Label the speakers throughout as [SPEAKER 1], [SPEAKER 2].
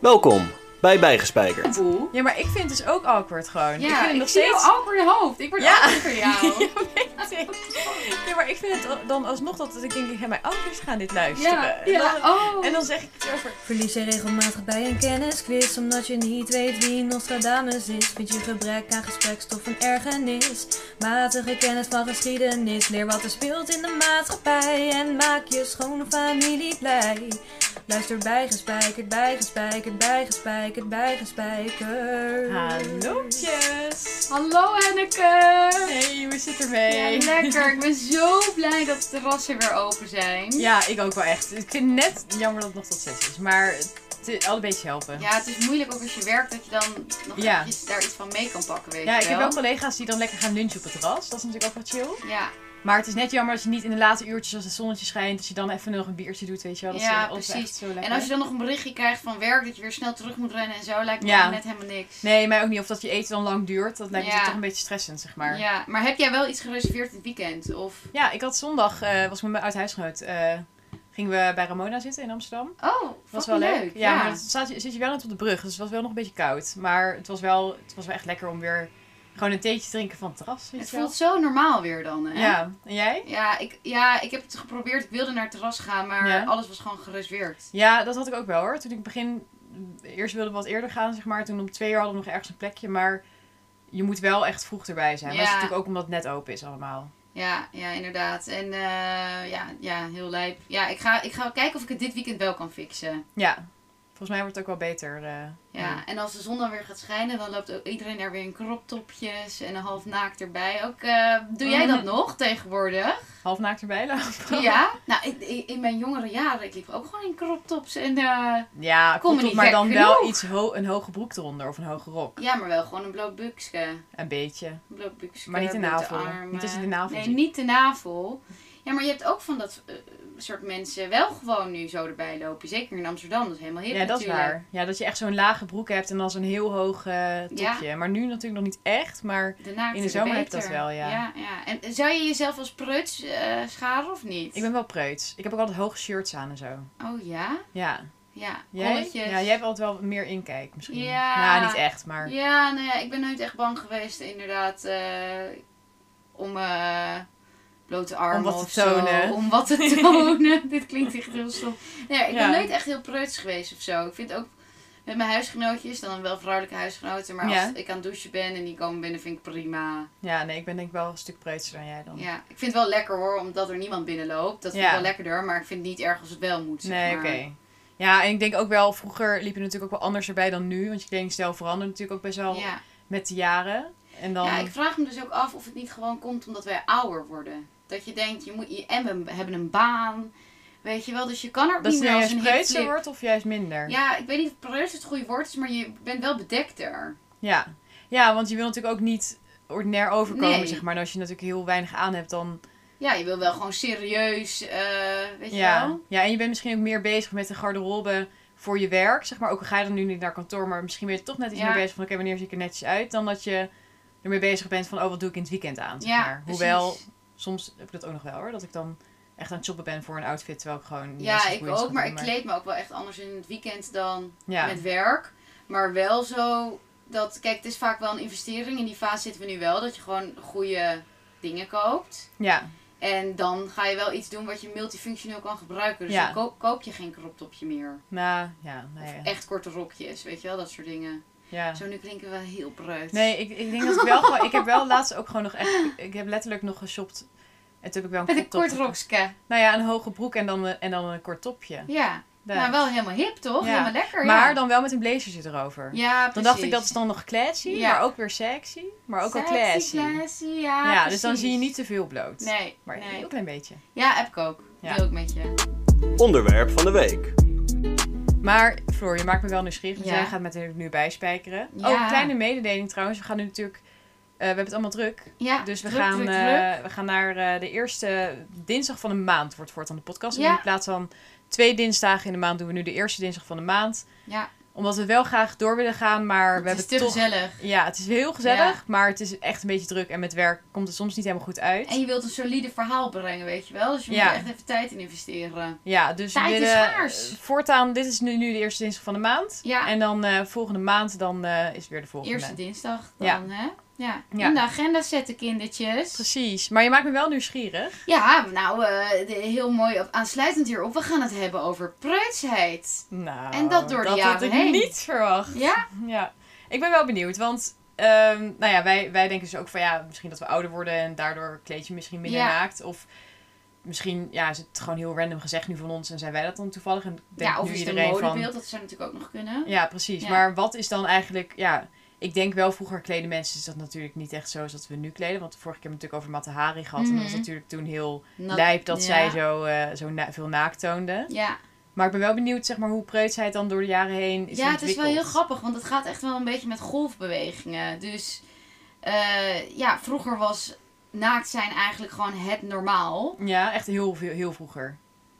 [SPEAKER 1] Welkom bij Bijgespijkerd.
[SPEAKER 2] Boel.
[SPEAKER 3] Ja, maar ik vind het dus ook awkward gewoon. ik vind
[SPEAKER 2] Ja,
[SPEAKER 3] het
[SPEAKER 2] ik,
[SPEAKER 3] nog
[SPEAKER 2] zie
[SPEAKER 3] steeds.
[SPEAKER 2] jou amper in hoofd. Ik word
[SPEAKER 3] Ja.
[SPEAKER 2] amper voor jou.
[SPEAKER 3] Ja, weet ik. Ja, maar ik vind het dan alsnog dat dat ik denk, hé, mijn ouders gaan dit luisteren.
[SPEAKER 2] Ja,
[SPEAKER 3] En
[SPEAKER 2] ja,
[SPEAKER 3] dan-
[SPEAKER 2] oh.
[SPEAKER 3] En dan zeg ik iets over.
[SPEAKER 4] Verlies je regelmatig bij een kennisquiz Omdat je niet weet wie Nostradamus is Vind je gebrek aan gesprekstof een ergernis Matige kennis van geschiedenis Leer wat er speelt in de maatschappij En maak je schone familie blij Luister bijgespijkerd, bijgespijkerd, bijgespijkerd, bijgespijkerd
[SPEAKER 3] Hallootjes.
[SPEAKER 2] Hallo Henneke.
[SPEAKER 3] Hey, hoe zit
[SPEAKER 2] Ja,
[SPEAKER 3] ermee?
[SPEAKER 2] lekker. Ik ben zo blij dat de terrassen weer open zijn.
[SPEAKER 3] Ja, ik ook wel echt. Ik vind net jammer dat het nog tot zes is. Maar het is al een beetje helpen.
[SPEAKER 2] Ja, het is moeilijk ook als je werkt dat je dan nog
[SPEAKER 3] Ja.
[SPEAKER 2] eventjes daar iets van mee kan pakken, weet
[SPEAKER 3] Ja,
[SPEAKER 2] je
[SPEAKER 3] ik heb
[SPEAKER 2] wel.
[SPEAKER 3] wel collega's die dan lekker gaan lunchen op het terras. Dat is natuurlijk ook wel chill.
[SPEAKER 2] Ja,
[SPEAKER 3] Maar het is net jammer dat je niet in de late uurtjes als het zonnetje schijnt, dat je dan even nog een biertje doet, weet je wel. Dat
[SPEAKER 2] Ja,
[SPEAKER 3] is altijd
[SPEAKER 2] precies.
[SPEAKER 3] echt zo lekker.
[SPEAKER 2] en als je dan nog een berichtje krijgt van werk dat je weer snel terug moet rennen en zo, lijkt me
[SPEAKER 3] Ja.
[SPEAKER 2] net helemaal niks.
[SPEAKER 3] Nee, mij ook niet. Of dat je eten dan lang duurt. Dat lijkt me
[SPEAKER 2] Ja.
[SPEAKER 3] toch een beetje stressend, zeg maar. Ja,
[SPEAKER 2] Ja, maar heb jij wel iets gereserveerd in het weekend? Of...
[SPEAKER 3] ik had zondag, eh, was ik met mijn oud-huisgenoot, eh, gingen we bij Ramona zitten in Amsterdam.
[SPEAKER 2] Oh,
[SPEAKER 3] was wel
[SPEAKER 2] fucking
[SPEAKER 3] leuk. Ja, maar
[SPEAKER 2] dat
[SPEAKER 3] het staat, zit je wel net op de brug, dus het was wel nog een beetje koud. Maar het was wel, het was wel echt lekker om weer gewoon een theetje te drinken van het terras. Weet
[SPEAKER 2] Het
[SPEAKER 3] je wel.
[SPEAKER 2] voelt zo normaal weer dan, hè?
[SPEAKER 3] Ja, en jij?
[SPEAKER 2] Ja ik, ja, ik heb het geprobeerd. Ik wilde naar het terras gaan, maar
[SPEAKER 3] Ja.
[SPEAKER 2] alles was gewoon gereserveerd.
[SPEAKER 3] Ja, dat had ik ook wel hoor. Toen ik begin, eerst wilde we wat eerder gaan, zeg maar. Toen om twee uur hadden we nog ergens een plekje, maar je moet wel echt vroeg erbij zijn. Maar dat
[SPEAKER 2] Ja.
[SPEAKER 3] is natuurlijk ook omdat het net open is allemaal.
[SPEAKER 2] Ja, ja inderdaad. En eh, ja, ja, heel lijp. Ja, ik ga, ik ga kijken of ik het dit weekend wel kan fixen.
[SPEAKER 3] Ja, volgens mij wordt het ook wel beter. eh,
[SPEAKER 2] Ja,
[SPEAKER 3] nu.
[SPEAKER 2] en als de zon dan weer gaat schijnen, dan loopt ook iedereen daar weer in kroptopjes en een half naakt erbij. Ook, eh, doe jij dat nog tegenwoordig?
[SPEAKER 3] Half naakt erbij lopen.
[SPEAKER 2] Ja. Nou, ik, ik- in mijn jongere jaren, ik liep ook gewoon in kroptops en... eh,
[SPEAKER 3] Ja,
[SPEAKER 2] Kom
[SPEAKER 3] komt
[SPEAKER 2] er
[SPEAKER 3] op,
[SPEAKER 2] niet
[SPEAKER 3] maar
[SPEAKER 2] gek
[SPEAKER 3] dan wel
[SPEAKER 2] genoeg.
[SPEAKER 3] iets ho een hoge broek eronder of een hoge rok.
[SPEAKER 2] ja, maar wel gewoon een bloot buksje.
[SPEAKER 3] Een beetje.
[SPEAKER 2] Een bloot buksje,
[SPEAKER 3] Maar niet de
[SPEAKER 2] blote
[SPEAKER 3] navel.
[SPEAKER 2] armen.
[SPEAKER 3] Niet als je de navel
[SPEAKER 2] Nee,
[SPEAKER 3] ziet.
[SPEAKER 2] niet de navel. Ja, maar je hebt ook van dat eh, soort mensen wel gewoon nu zo erbij lopen. Zeker in Amsterdam, dat is helemaal hip
[SPEAKER 3] Ja, dat is
[SPEAKER 2] natuurlijk.
[SPEAKER 3] waar. Ja, dat je echt zo'n lage broek hebt en dan zo'n heel hoog eh, topje. Maar nu natuurlijk nog niet echt, maar
[SPEAKER 2] De naakte
[SPEAKER 3] In de zomer heb je
[SPEAKER 2] beter.
[SPEAKER 3] dat wel, ja.
[SPEAKER 2] ja, En zou je jezelf als pruts eh, scharen of niet?
[SPEAKER 3] ik ben wel preuts. Ik heb ook altijd hoge shirts aan en zo.
[SPEAKER 2] Oh ja?
[SPEAKER 3] Ja.
[SPEAKER 2] Ja,
[SPEAKER 3] Jij?
[SPEAKER 2] kolletjes.
[SPEAKER 3] Ja, jij hebt altijd wel meer inkijk misschien.
[SPEAKER 2] Ja.
[SPEAKER 3] Nou, niet echt, maar...
[SPEAKER 2] Ja, nou ja, ik ben nooit echt bang geweest inderdaad eh, om eh, blote armen
[SPEAKER 3] Om wat te
[SPEAKER 2] of zo,
[SPEAKER 3] tonen.
[SPEAKER 2] om wat te tonen. Dit klinkt echt heel stom. Nee, ik
[SPEAKER 3] Ja.
[SPEAKER 2] ben nooit echt heel preuts geweest of zo. Ik vind ook met mijn huisgenootjes, dan wel vrouwelijke huisgenoten, maar
[SPEAKER 3] Ja.
[SPEAKER 2] als ik aan het douchen ben en die komen binnen, vind ik prima.
[SPEAKER 3] Ja, nee, ik ben denk ik wel een stuk preutser dan jij dan.
[SPEAKER 2] Ja, ik vind het wel lekker hoor, omdat er niemand binnenloopt. Dat vind
[SPEAKER 3] Ja.
[SPEAKER 2] ik wel lekkerder, maar ik vind het niet erg als het wel moet. zeg
[SPEAKER 3] Nee,
[SPEAKER 2] maar.
[SPEAKER 3] oké. Ja, en ik denk ook wel, vroeger liep je natuurlijk ook wel anders erbij dan nu. Want je kledingstijl verandert natuurlijk ook best wel
[SPEAKER 2] Ja.
[SPEAKER 3] met de jaren. En dan...
[SPEAKER 2] Ja, ik vraag me dus ook af of het niet gewoon komt omdat wij ouder worden. Dat je denkt, je moet je en we hebben een baan. Weet je wel, dus je kan er niet
[SPEAKER 3] Dat je
[SPEAKER 2] meer
[SPEAKER 3] nou
[SPEAKER 2] als
[SPEAKER 3] juist
[SPEAKER 2] een
[SPEAKER 3] preutser
[SPEAKER 2] hipflip.
[SPEAKER 3] wordt of juist minder?
[SPEAKER 2] Ja, ik weet niet of preus het goede woord is, maar je bent wel bedekter.
[SPEAKER 3] Ja. Ja, want je wil natuurlijk ook niet ordinair overkomen,
[SPEAKER 2] Nee.
[SPEAKER 3] zeg maar. En als je natuurlijk heel weinig aan hebt, dan...
[SPEAKER 2] Ja, je wil wel gewoon serieus, eh, weet je
[SPEAKER 3] Ja.
[SPEAKER 2] wel.
[SPEAKER 3] ja, en je bent misschien ook meer bezig met de garderobe voor je werk, zeg maar. Ook al ga je dan nu niet naar kantoor, maar misschien ben je toch net iets
[SPEAKER 2] Ja.
[SPEAKER 3] meer bezig van... Oké, wanneer zie ik er netjes uit? Dan dat je ermee bezig bent van, oh, wat doe ik in het weekend aan, zeg
[SPEAKER 2] Ja,
[SPEAKER 3] maar.
[SPEAKER 2] precies.
[SPEAKER 3] Hoewel, soms heb ik dat ook nog wel, hoor. Dat ik dan echt aan het shoppen ben voor een outfit, terwijl ik gewoon... niet eens
[SPEAKER 2] Ja,
[SPEAKER 3] iets
[SPEAKER 2] ik
[SPEAKER 3] boeiends
[SPEAKER 2] ook,
[SPEAKER 3] ga
[SPEAKER 2] maar
[SPEAKER 3] doen,
[SPEAKER 2] ik kleed me ook wel echt anders in het weekend dan
[SPEAKER 3] Ja.
[SPEAKER 2] met werk. Maar wel zo dat, kijk, het is vaak wel een investering. In die fase zitten we nu wel, dat je gewoon goede dingen koopt.
[SPEAKER 3] Ja,
[SPEAKER 2] En dan ga je wel iets doen wat je multifunctioneel kan gebruiken. Dus
[SPEAKER 3] Ja.
[SPEAKER 2] dan ko- koop je geen kroptopje meer.
[SPEAKER 3] nou, ja, nee.
[SPEAKER 2] Of echt korte rokjes, weet je wel, dat soort dingen.
[SPEAKER 3] ja.
[SPEAKER 2] Zo nu klinken we heel bruid.
[SPEAKER 3] Nee, ik, ik denk dat ik wel gewoon... Ik heb wel laatst ook gewoon nog echt... Ik heb letterlijk nog geshopt... En toen heb ik wel een
[SPEAKER 2] Met een
[SPEAKER 3] crop top
[SPEAKER 2] kort rokske.
[SPEAKER 3] Nou ja, een hoge broek en dan, een- en dan een kort topje.
[SPEAKER 2] Ja,
[SPEAKER 3] Daar.
[SPEAKER 2] maar wel helemaal hip toch?
[SPEAKER 3] Ja.
[SPEAKER 2] Helemaal lekker,
[SPEAKER 3] maar
[SPEAKER 2] ja.
[SPEAKER 3] dan wel met een blazertje erover.
[SPEAKER 2] Ja, precies.
[SPEAKER 3] dan dacht ik dat is dan nog classy,
[SPEAKER 2] Ja.
[SPEAKER 3] maar ook weer sexy, maar ook wel
[SPEAKER 2] Sexy,
[SPEAKER 3] classy.
[SPEAKER 2] classy, ja,
[SPEAKER 3] ja, dus dan
[SPEAKER 2] precies.
[SPEAKER 3] zie je niet te veel bloot.
[SPEAKER 2] Nee,
[SPEAKER 3] Maar een
[SPEAKER 2] nee.
[SPEAKER 3] heel klein beetje.
[SPEAKER 2] Ja, heb ik ook.
[SPEAKER 3] Ja.
[SPEAKER 2] Deel ik met je.
[SPEAKER 1] Onderwerp van de week.
[SPEAKER 3] Maar Floor, je maakt me wel nieuwsgierig. Dus
[SPEAKER 2] Ja.
[SPEAKER 3] jij gaat me natuurlijk nu bijspijkeren.
[SPEAKER 2] Ja.
[SPEAKER 3] Oh, kleine mededeling trouwens. We gaan nu natuurlijk... eh, we hebben het allemaal druk.
[SPEAKER 2] Ja,
[SPEAKER 3] dus we,
[SPEAKER 2] druk,
[SPEAKER 3] gaan,
[SPEAKER 2] druk, druk.
[SPEAKER 3] eh, we gaan naar eh, de eerste dinsdag van de maand. Wordt voortaan de podcast. En
[SPEAKER 2] Ja.
[SPEAKER 3] In plaats van twee dinsdagen in de maand doen we nu de eerste dinsdag van de maand.
[SPEAKER 2] Ja,
[SPEAKER 3] Omdat we wel graag door willen gaan, maar we
[SPEAKER 2] het
[SPEAKER 3] hebben
[SPEAKER 2] is te
[SPEAKER 3] toch...
[SPEAKER 2] gezellig.
[SPEAKER 3] Ja, het is heel gezellig,
[SPEAKER 2] Ja.
[SPEAKER 3] maar het is echt een beetje druk. En met werk komt het soms niet helemaal goed uit.
[SPEAKER 2] En je wilt een solide verhaal brengen, weet je wel. Dus je
[SPEAKER 3] Ja.
[SPEAKER 2] moet er echt even tijd in investeren.
[SPEAKER 3] Ja, dus we
[SPEAKER 2] Tijd is
[SPEAKER 3] willen
[SPEAKER 2] schaars.
[SPEAKER 3] voortaan, dit is nu, nu de eerste dinsdag van de maand.
[SPEAKER 2] Ja.
[SPEAKER 3] En dan eh, volgende maand, dan eh, is het weer de volgende.
[SPEAKER 2] Eerste dinsdag dan,
[SPEAKER 3] Ja.
[SPEAKER 2] hè? Ja.
[SPEAKER 3] Ja.
[SPEAKER 2] In de agenda zetten, kindertjes.
[SPEAKER 3] Precies, maar je maakt me wel nieuwsgierig.
[SPEAKER 2] Ja, nou, eh, de- heel mooi op- aansluitend hierop. We gaan het hebben over preutsheid.
[SPEAKER 3] Nou,
[SPEAKER 2] En dat door de
[SPEAKER 3] had
[SPEAKER 2] jaren
[SPEAKER 3] ik
[SPEAKER 2] heen.
[SPEAKER 3] niet verwacht.
[SPEAKER 2] Ja?
[SPEAKER 3] Ja, ik ben wel benieuwd, want ehm, nou ja, wij, wij denken dus ook van ja, misschien dat we ouder worden en daardoor kleed je misschien minder
[SPEAKER 2] Ja.
[SPEAKER 3] naakt. Of misschien ja, is het gewoon heel random gezegd nu van ons en zijn wij dat dan toevallig. En denkt
[SPEAKER 2] ja, of
[SPEAKER 3] nu
[SPEAKER 2] is het een
[SPEAKER 3] iedereen
[SPEAKER 2] modebeeld?
[SPEAKER 3] van.
[SPEAKER 2] Dat zou natuurlijk ook nog kunnen.
[SPEAKER 3] Ja, precies.
[SPEAKER 2] Ja.
[SPEAKER 3] Maar wat is dan eigenlijk, ja, ik denk wel vroeger kleden mensen is dat natuurlijk niet echt zo als dat we nu kleden. Want de vorige keer hebben we het natuurlijk over Mata Hari gehad en dat was
[SPEAKER 2] Mhm.
[SPEAKER 3] natuurlijk toen heel
[SPEAKER 2] Na-
[SPEAKER 3] lijp dat
[SPEAKER 2] ja.
[SPEAKER 3] zij zo, eh, zo na- veel naakt toonde.
[SPEAKER 2] Ja,
[SPEAKER 3] Maar ik ben wel benieuwd, zeg maar, hoe preutsheid dan door de jaren heen is
[SPEAKER 2] ja het is wel heel
[SPEAKER 3] ontwikkeld.
[SPEAKER 2] grappig, want het gaat echt wel een beetje met golfbewegingen. Dus eh, ja, vroeger was naakt zijn eigenlijk gewoon het normaal.
[SPEAKER 3] Ja, echt heel, veel heel vroeger.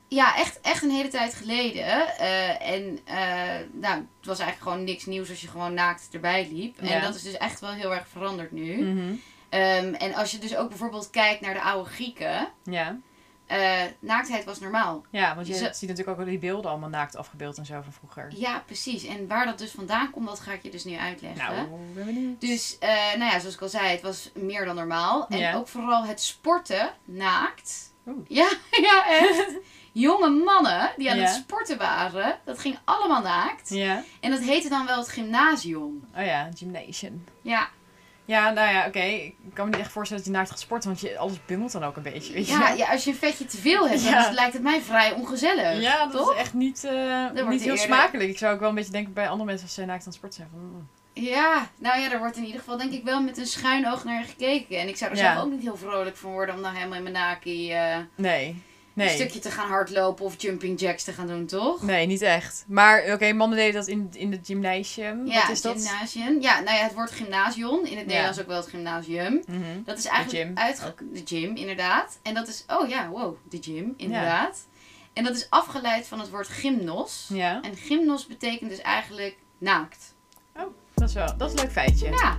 [SPEAKER 2] Ja, echt, echt een hele tijd geleden. Eh, en eh, nou, het was eigenlijk gewoon niks nieuws als je gewoon naakt erbij liep.
[SPEAKER 3] Ja.
[SPEAKER 2] En dat is dus echt wel heel erg veranderd nu.
[SPEAKER 3] Mhm.
[SPEAKER 2] Ehm, en als je dus ook bijvoorbeeld kijkt naar de oude Grieken.
[SPEAKER 3] Ja.
[SPEAKER 2] eh, naaktheid was normaal.
[SPEAKER 3] ja, want je
[SPEAKER 2] Je zou-
[SPEAKER 3] ziet natuurlijk ook al die beelden allemaal naakt afgebeeld en zo van vroeger.
[SPEAKER 2] Ja, precies. En waar dat dus vandaan komt, dat ga ik je dus nu uitleggen.
[SPEAKER 3] Nou, ik ben benieuwd.
[SPEAKER 2] Dus, eh, nou ja, zoals ik al zei, het was meer dan normaal. En
[SPEAKER 3] Ja.
[SPEAKER 2] ook vooral het sporten naakt.
[SPEAKER 3] Oeh.
[SPEAKER 2] Ja, ja, echt. Jonge mannen die aan
[SPEAKER 3] Ja.
[SPEAKER 2] het sporten waren, dat ging allemaal naakt.
[SPEAKER 3] Ja.
[SPEAKER 2] En dat heette dan wel het gymnasium.
[SPEAKER 3] Oh ja, gymnasium.
[SPEAKER 2] Ja,
[SPEAKER 3] Ja, nou ja, oké. Ik kan me niet echt voorstellen dat je naakt gaat sporten, want je, alles bungelt dan ook een beetje. Weet je?
[SPEAKER 2] ja, ja, als je een vetje te veel hebt,
[SPEAKER 3] Ja.
[SPEAKER 2] dan lijkt het mij vrij ongezellig.
[SPEAKER 3] Ja, dat
[SPEAKER 2] toch?
[SPEAKER 3] is echt niet, eh,
[SPEAKER 2] wordt
[SPEAKER 3] niet heel
[SPEAKER 2] eerder-
[SPEAKER 3] smakelijk. Ik zou ook wel een beetje denken bij andere mensen als zij naakt aan het sporten zijn. Van, mm.
[SPEAKER 2] Ja, nou ja, er wordt in ieder geval denk ik wel met een schuin oog naar gekeken. En ik zou er
[SPEAKER 3] Ja.
[SPEAKER 2] zelf ook niet heel vrolijk van worden om nou helemaal in mijn naki eh,
[SPEAKER 3] Nee,
[SPEAKER 2] een
[SPEAKER 3] nee.
[SPEAKER 2] stukje te gaan hardlopen of jumping jacks te gaan doen, toch?
[SPEAKER 3] Nee, niet echt. Maar oké, mannen deden dat in, in het gymnasium.
[SPEAKER 2] Ja,
[SPEAKER 3] Wat is dat?
[SPEAKER 2] gymnasium. Ja, nou ja, het woord gymnasium. In het Nederlands ook wel het gymnasium.
[SPEAKER 3] Mhm.
[SPEAKER 2] Dat is eigenlijk
[SPEAKER 3] gym
[SPEAKER 2] uitge- de gym, inderdaad. En dat is, oh ja, wow, de gym, inderdaad. En dat is afgeleid van het woord gymnos.
[SPEAKER 3] Ja,
[SPEAKER 2] En gymnos betekent dus eigenlijk naakt.
[SPEAKER 3] dat is wel dat is een leuk feitje.
[SPEAKER 2] Ja,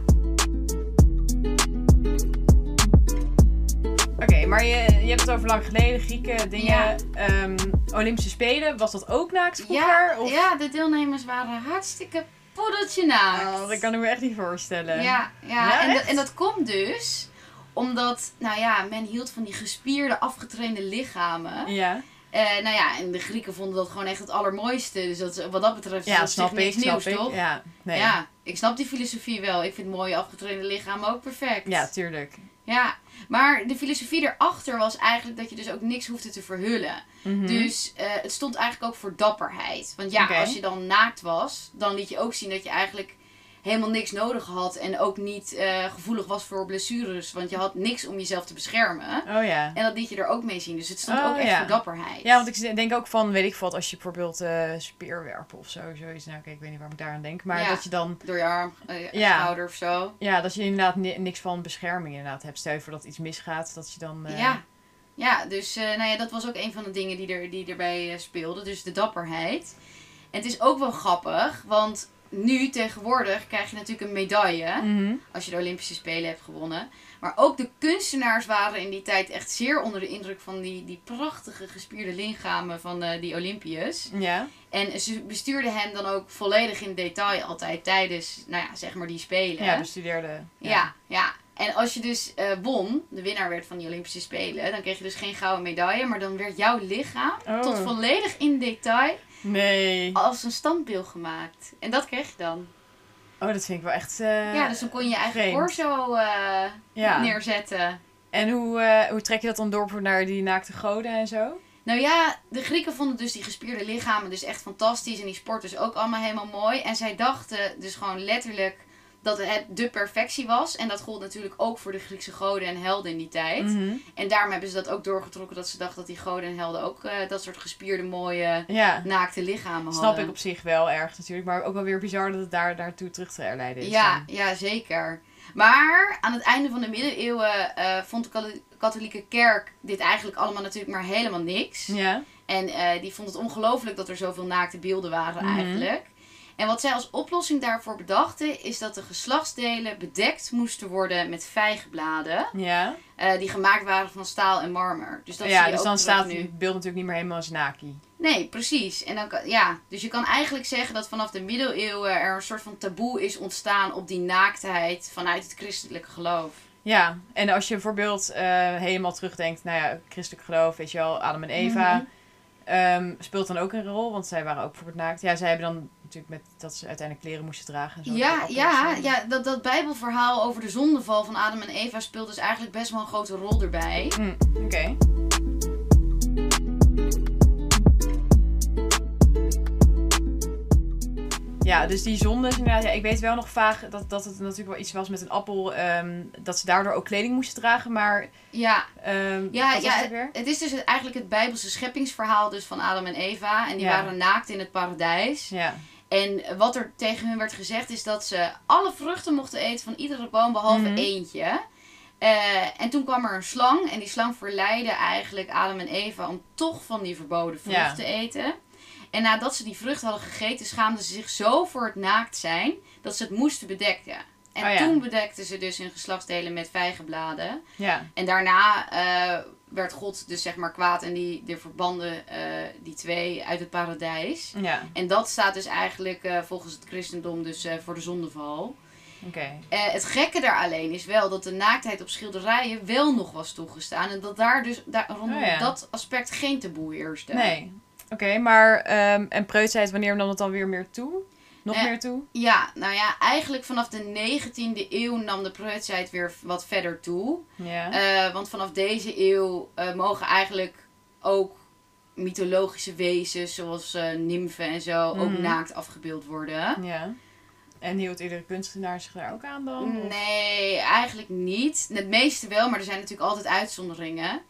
[SPEAKER 3] Oké, maar je, je hebt het over lang geleden, Grieken, dingen.
[SPEAKER 2] Ja.
[SPEAKER 3] Ehm, Olympische Spelen, was dat ook naakt vroeger?
[SPEAKER 2] ja,
[SPEAKER 3] of...
[SPEAKER 2] ja, de deelnemers waren hartstikke poddeltje naakt.
[SPEAKER 3] Oh, dat kan ik me echt niet voorstellen.
[SPEAKER 2] Ja, ja.
[SPEAKER 3] Ja,
[SPEAKER 2] en, dat,
[SPEAKER 3] echt?
[SPEAKER 2] en dat komt dus omdat, nou ja, men hield van die gespierde, afgetrainde lichamen.
[SPEAKER 3] Ja,
[SPEAKER 2] Eh, nou ja, en de Grieken vonden dat gewoon echt het allermooiste. Dus dat, is- wat dat betreft is
[SPEAKER 3] ja
[SPEAKER 2] dat
[SPEAKER 3] snap
[SPEAKER 2] zich niks
[SPEAKER 3] ik, snap
[SPEAKER 2] nieuws,
[SPEAKER 3] ik.
[SPEAKER 2] toch?
[SPEAKER 3] Ja, nee.
[SPEAKER 2] Ja, ik snap die filosofie wel. Ik vind mooie afgetrainde lichamen ook perfect.
[SPEAKER 3] Ja, tuurlijk.
[SPEAKER 2] Ja, maar de filosofie erachter was eigenlijk dat je dus ook niks hoefde te verhullen.
[SPEAKER 3] Mhm.
[SPEAKER 2] Dus eh, het stond eigenlijk ook voor dapperheid. Want ja,
[SPEAKER 3] Oké.
[SPEAKER 2] als je dan naakt was, dan liet je ook zien dat je eigenlijk helemaal niks nodig had. En ook niet eh, gevoelig was voor blessures. Want je had niks om jezelf te beschermen.
[SPEAKER 3] Oh ja.
[SPEAKER 2] En dat liet je er ook mee zien. Dus het stond
[SPEAKER 3] Oh,
[SPEAKER 2] ook echt
[SPEAKER 3] ja.
[SPEAKER 2] voor dapperheid.
[SPEAKER 3] Ja, want ik denk ook van, weet ik wat, als je bijvoorbeeld eh speerwerpen of zo, zoiets. Nou, oké, ik weet niet waarom ik daaraan denk. Maar
[SPEAKER 2] Ja.
[SPEAKER 3] dat je dan,
[SPEAKER 2] Door je arm, eh,
[SPEAKER 3] Ja.
[SPEAKER 2] schouder of zo.
[SPEAKER 3] ja, dat je inderdaad ni- niks van bescherming inderdaad hebt. Stel je voor dat iets misgaat, dat je dan... eh,
[SPEAKER 2] Ja. Ja, dus eh, nou ja, dat was ook een van de dingen die, er, die erbij eh, speelden. Dus de dapperheid. En het is ook wel grappig, want nu tegenwoordig krijg je natuurlijk een medaille.
[SPEAKER 3] Mhm.
[SPEAKER 2] Als je de Olympische Spelen hebt gewonnen. Maar ook de kunstenaars waren in die tijd echt zeer onder de indruk van die, die prachtige gespierde lichamen van eh, die Olympiërs.
[SPEAKER 3] Ja.
[SPEAKER 2] En ze bestuurden hen dan ook volledig in detail altijd tijdens, nou ja, zeg maar die Spelen.
[SPEAKER 3] Ja, dus- bestudeerde.
[SPEAKER 2] Ja, ja. En als je dus eh, won, de winnaar werd van die Olympische Spelen, dan kreeg je dus geen gouden medaille, maar dan werd jouw lichaam
[SPEAKER 3] Oh.
[SPEAKER 2] tot volledig in detail
[SPEAKER 3] Nee.
[SPEAKER 2] als een standbeeld gemaakt. En dat kreeg je dan.
[SPEAKER 3] Oh, dat vind ik wel echt... eh,
[SPEAKER 2] ja, dus dan kon je je eigen
[SPEAKER 3] vreemd.
[SPEAKER 2] corso eh,
[SPEAKER 3] Ja.
[SPEAKER 2] neerzetten.
[SPEAKER 3] En hoe, eh, hoe trek je dat dan door voor naar die naakte goden en zo?
[SPEAKER 2] Nou ja, de Grieken vonden dus die gespierde lichamen dus echt fantastisch en die sport dus ook allemaal helemaal mooi. En zij dachten dus gewoon letterlijk dat het de perfectie was. En dat gold natuurlijk ook voor de Griekse goden en helden in die tijd.
[SPEAKER 3] Mhm.
[SPEAKER 2] En daarom hebben ze dat ook doorgetrokken dat ze dachten dat die goden en helden ook eh, dat soort gespierde, mooie,
[SPEAKER 3] Ja,
[SPEAKER 2] naakte lichamen
[SPEAKER 3] snap
[SPEAKER 2] hadden.
[SPEAKER 3] ik op zich wel erg natuurlijk. Maar ook wel weer bizar dat het daar, daartoe terug te herleiden is.
[SPEAKER 2] Ja,
[SPEAKER 3] dan.
[SPEAKER 2] ja, zeker. Maar aan het einde van de middeleeuwen eh, vond de kathol- katholieke kerk dit eigenlijk allemaal natuurlijk maar helemaal niks.
[SPEAKER 3] Ja.
[SPEAKER 2] En eh, die vond het ongelooflijk dat er zoveel naakte beelden waren
[SPEAKER 3] Mhm.
[SPEAKER 2] eigenlijk. En wat zij als oplossing daarvoor bedachten, is dat de geslachtsdelen bedekt moesten worden met vijgbladen.
[SPEAKER 3] Ja,
[SPEAKER 2] eh, die gemaakt waren van staal en marmer. Dus dat zie
[SPEAKER 3] ja
[SPEAKER 2] je
[SPEAKER 3] dus
[SPEAKER 2] ook
[SPEAKER 3] dan
[SPEAKER 2] terug
[SPEAKER 3] staat
[SPEAKER 2] nu.
[SPEAKER 3] het beeld natuurlijk niet meer helemaal als Naki.
[SPEAKER 2] Nee, precies. En dan kan, ja, dus je kan eigenlijk zeggen dat vanaf de middeleeuwen er een soort van taboe is ontstaan op die naaktheid vanuit het christelijke geloof.
[SPEAKER 3] Ja, en als je bijvoorbeeld eh, helemaal terugdenkt, nou ja, christelijk geloof, weet je wel, Adam en Eva,
[SPEAKER 2] Mhm.
[SPEAKER 3] ehm, speelt dan ook een rol, want zij waren ook bijvoorbeeld naakt. Ja, zij hebben dan natuurlijk met dat ze uiteindelijk kleren moesten dragen en zo. de
[SPEAKER 2] Ja,
[SPEAKER 3] appels
[SPEAKER 2] ja,
[SPEAKER 3] en-
[SPEAKER 2] ja dat, dat bijbelverhaal over de zondeval van Adam en Eva speelt dus eigenlijk best wel een grote rol erbij.
[SPEAKER 3] Mm, Oké. Ja, dus die zondes inderdaad. Ja, ik weet wel nog vaag dat, dat het natuurlijk wel iets was met een appel. ehm, dat ze daardoor ook kleding moesten dragen. Maar
[SPEAKER 2] Ja,
[SPEAKER 3] ehm
[SPEAKER 2] ja,
[SPEAKER 3] wat was het
[SPEAKER 2] ja
[SPEAKER 3] ook weer?
[SPEAKER 2] het is dus het- eigenlijk het bijbelse scheppingsverhaal dus van Adam en Eva. En die
[SPEAKER 3] Ja.
[SPEAKER 2] waren naakt in het paradijs.
[SPEAKER 3] Ja.
[SPEAKER 2] En wat er tegen hun werd gezegd is dat ze alle vruchten mochten eten van iedere boom behalve
[SPEAKER 3] Mhm.
[SPEAKER 2] eentje. Eh, en toen kwam er een slang en die slang verleidde eigenlijk Adam en Eva om toch van die verboden vrucht
[SPEAKER 3] Ja.
[SPEAKER 2] te eten. En nadat ze die vrucht hadden gegeten, schaamden ze zich zo voor het naakt zijn dat ze het moesten bedekken. En
[SPEAKER 3] Oh ja.
[SPEAKER 2] toen bedekten ze dus hun geslachtsdelen met vijgenbladen.
[SPEAKER 3] ja.
[SPEAKER 2] En daarna eh, werd God dus zeg maar kwaad en die, die verbanden eh, die twee uit het paradijs.
[SPEAKER 3] Ja,
[SPEAKER 2] En dat staat dus eigenlijk eh, volgens het christendom dus eh, voor de zondeval.
[SPEAKER 3] oké.
[SPEAKER 2] Eh, het gekke daar alleen is wel dat de naaktheid op schilderijen wel nog was toegestaan. En dat daar dus daar, rondom
[SPEAKER 3] Oh ja.
[SPEAKER 2] dat aspect geen taboe heerste.
[SPEAKER 3] Nee. Oké, maar ehm en preutsheid, wanneer nam het dan weer meer toe? Nog
[SPEAKER 2] Eh,
[SPEAKER 3] meer toe?
[SPEAKER 2] Ja, nou ja, eigenlijk vanaf de 19e eeuw nam de preutsheid weer wat verder toe.
[SPEAKER 3] Ja.
[SPEAKER 2] Eh, want vanaf deze eeuw eh, mogen eigenlijk ook mythologische wezens zoals eh, nimfen en zo ook
[SPEAKER 3] Mhm.
[SPEAKER 2] naakt afgebeeld worden.
[SPEAKER 3] ja. En hield iedere kunstenaar zich daar ook aan dan? Of-
[SPEAKER 2] Nee, eigenlijk niet. Het meeste wel, maar er zijn natuurlijk altijd uitzonderingen.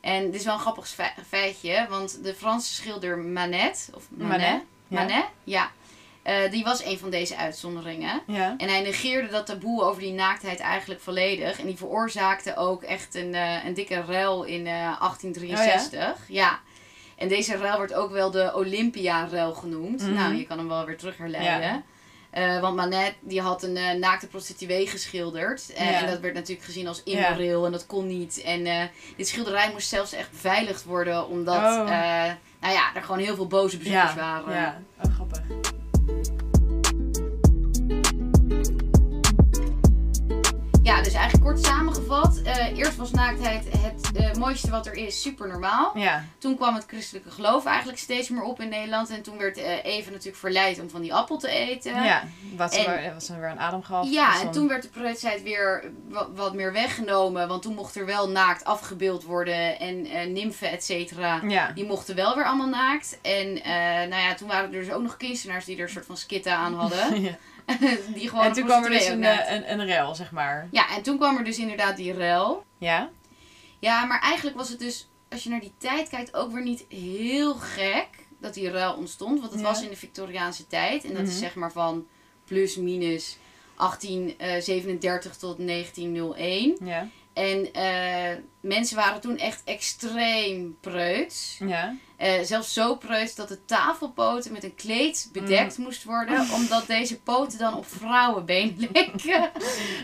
[SPEAKER 2] En dit is wel een grappig fe- feitje, want de Franse schilder Manet, of Manet,
[SPEAKER 3] Manet,
[SPEAKER 2] Manet,
[SPEAKER 3] ja.
[SPEAKER 2] ja, eh, die was een van deze uitzonderingen.
[SPEAKER 3] Ja.
[SPEAKER 2] En hij negeerde dat taboe over die naaktheid eigenlijk volledig. En die veroorzaakte ook echt een, eh, een dikke rel in
[SPEAKER 3] Oh,
[SPEAKER 2] eh, 1863. ja? En deze rel wordt ook wel de Olympia-rel genoemd.
[SPEAKER 3] Mhm.
[SPEAKER 2] Nou, je kan hem wel weer terug herleiden. Eh, want Manet die had een eh, naakte prostituee geschilderd. Eh,
[SPEAKER 3] Ja.
[SPEAKER 2] En dat werd natuurlijk gezien als immoreel en dat kon niet. En eh, dit schilderij moest zelfs echt beveiligd worden, omdat
[SPEAKER 3] Oh.
[SPEAKER 2] eh, nou ja, er gewoon heel veel boze bezoekers waren.
[SPEAKER 3] Ja, oh, grappig.
[SPEAKER 2] Ja, dus eigenlijk kort samengevat. eh, eerst was naaktheid het eh, mooiste wat er is, super normaal.
[SPEAKER 3] Ja,
[SPEAKER 2] Toen kwam het christelijke geloof eigenlijk steeds meer op in Nederland. En toen werd eh Eva natuurlijk verleid om van die appel te eten.
[SPEAKER 3] ja. Wat, ze
[SPEAKER 2] En-
[SPEAKER 3] weer- wat ze weer aan adem gaf.
[SPEAKER 2] Ja,
[SPEAKER 3] dus
[SPEAKER 2] en
[SPEAKER 3] dan-
[SPEAKER 2] toen werd de preutsheid weer wa- wat meer weggenomen. Want toen mocht er wel naakt afgebeeld worden en eh nimfen, et cetera.
[SPEAKER 3] Ja,
[SPEAKER 2] Die mochten wel weer allemaal naakt. En eh, nou ja, toen waren er dus ook nog kunstenaars die er een soort van skitten aan hadden.
[SPEAKER 3] Ja.
[SPEAKER 2] die gewoon
[SPEAKER 3] En toen kwam er dus
[SPEAKER 2] prostituee ook
[SPEAKER 3] een,
[SPEAKER 2] naakt.
[SPEAKER 3] eh, een, een rel, zeg maar.
[SPEAKER 2] Ja, en toen kwam er dus inderdaad die rel.
[SPEAKER 3] Ja?
[SPEAKER 2] Ja, maar eigenlijk was het dus, als je naar die tijd kijkt, ook weer niet heel gek dat die ruil ontstond. Want het
[SPEAKER 3] Ja.
[SPEAKER 2] was in de Victoriaanse tijd. En dat
[SPEAKER 3] Mhm.
[SPEAKER 2] is zeg maar van plus minus 1837 tot 1901.
[SPEAKER 3] Ja.
[SPEAKER 2] En eh, mensen waren toen echt extreem preuts.
[SPEAKER 3] Ja.
[SPEAKER 2] Eh, zelfs zo preuts dat de tafelpoten met een kleed bedekt
[SPEAKER 3] Mhm.
[SPEAKER 2] moest worden. Omdat deze poten dan op vrouwenbeen leken.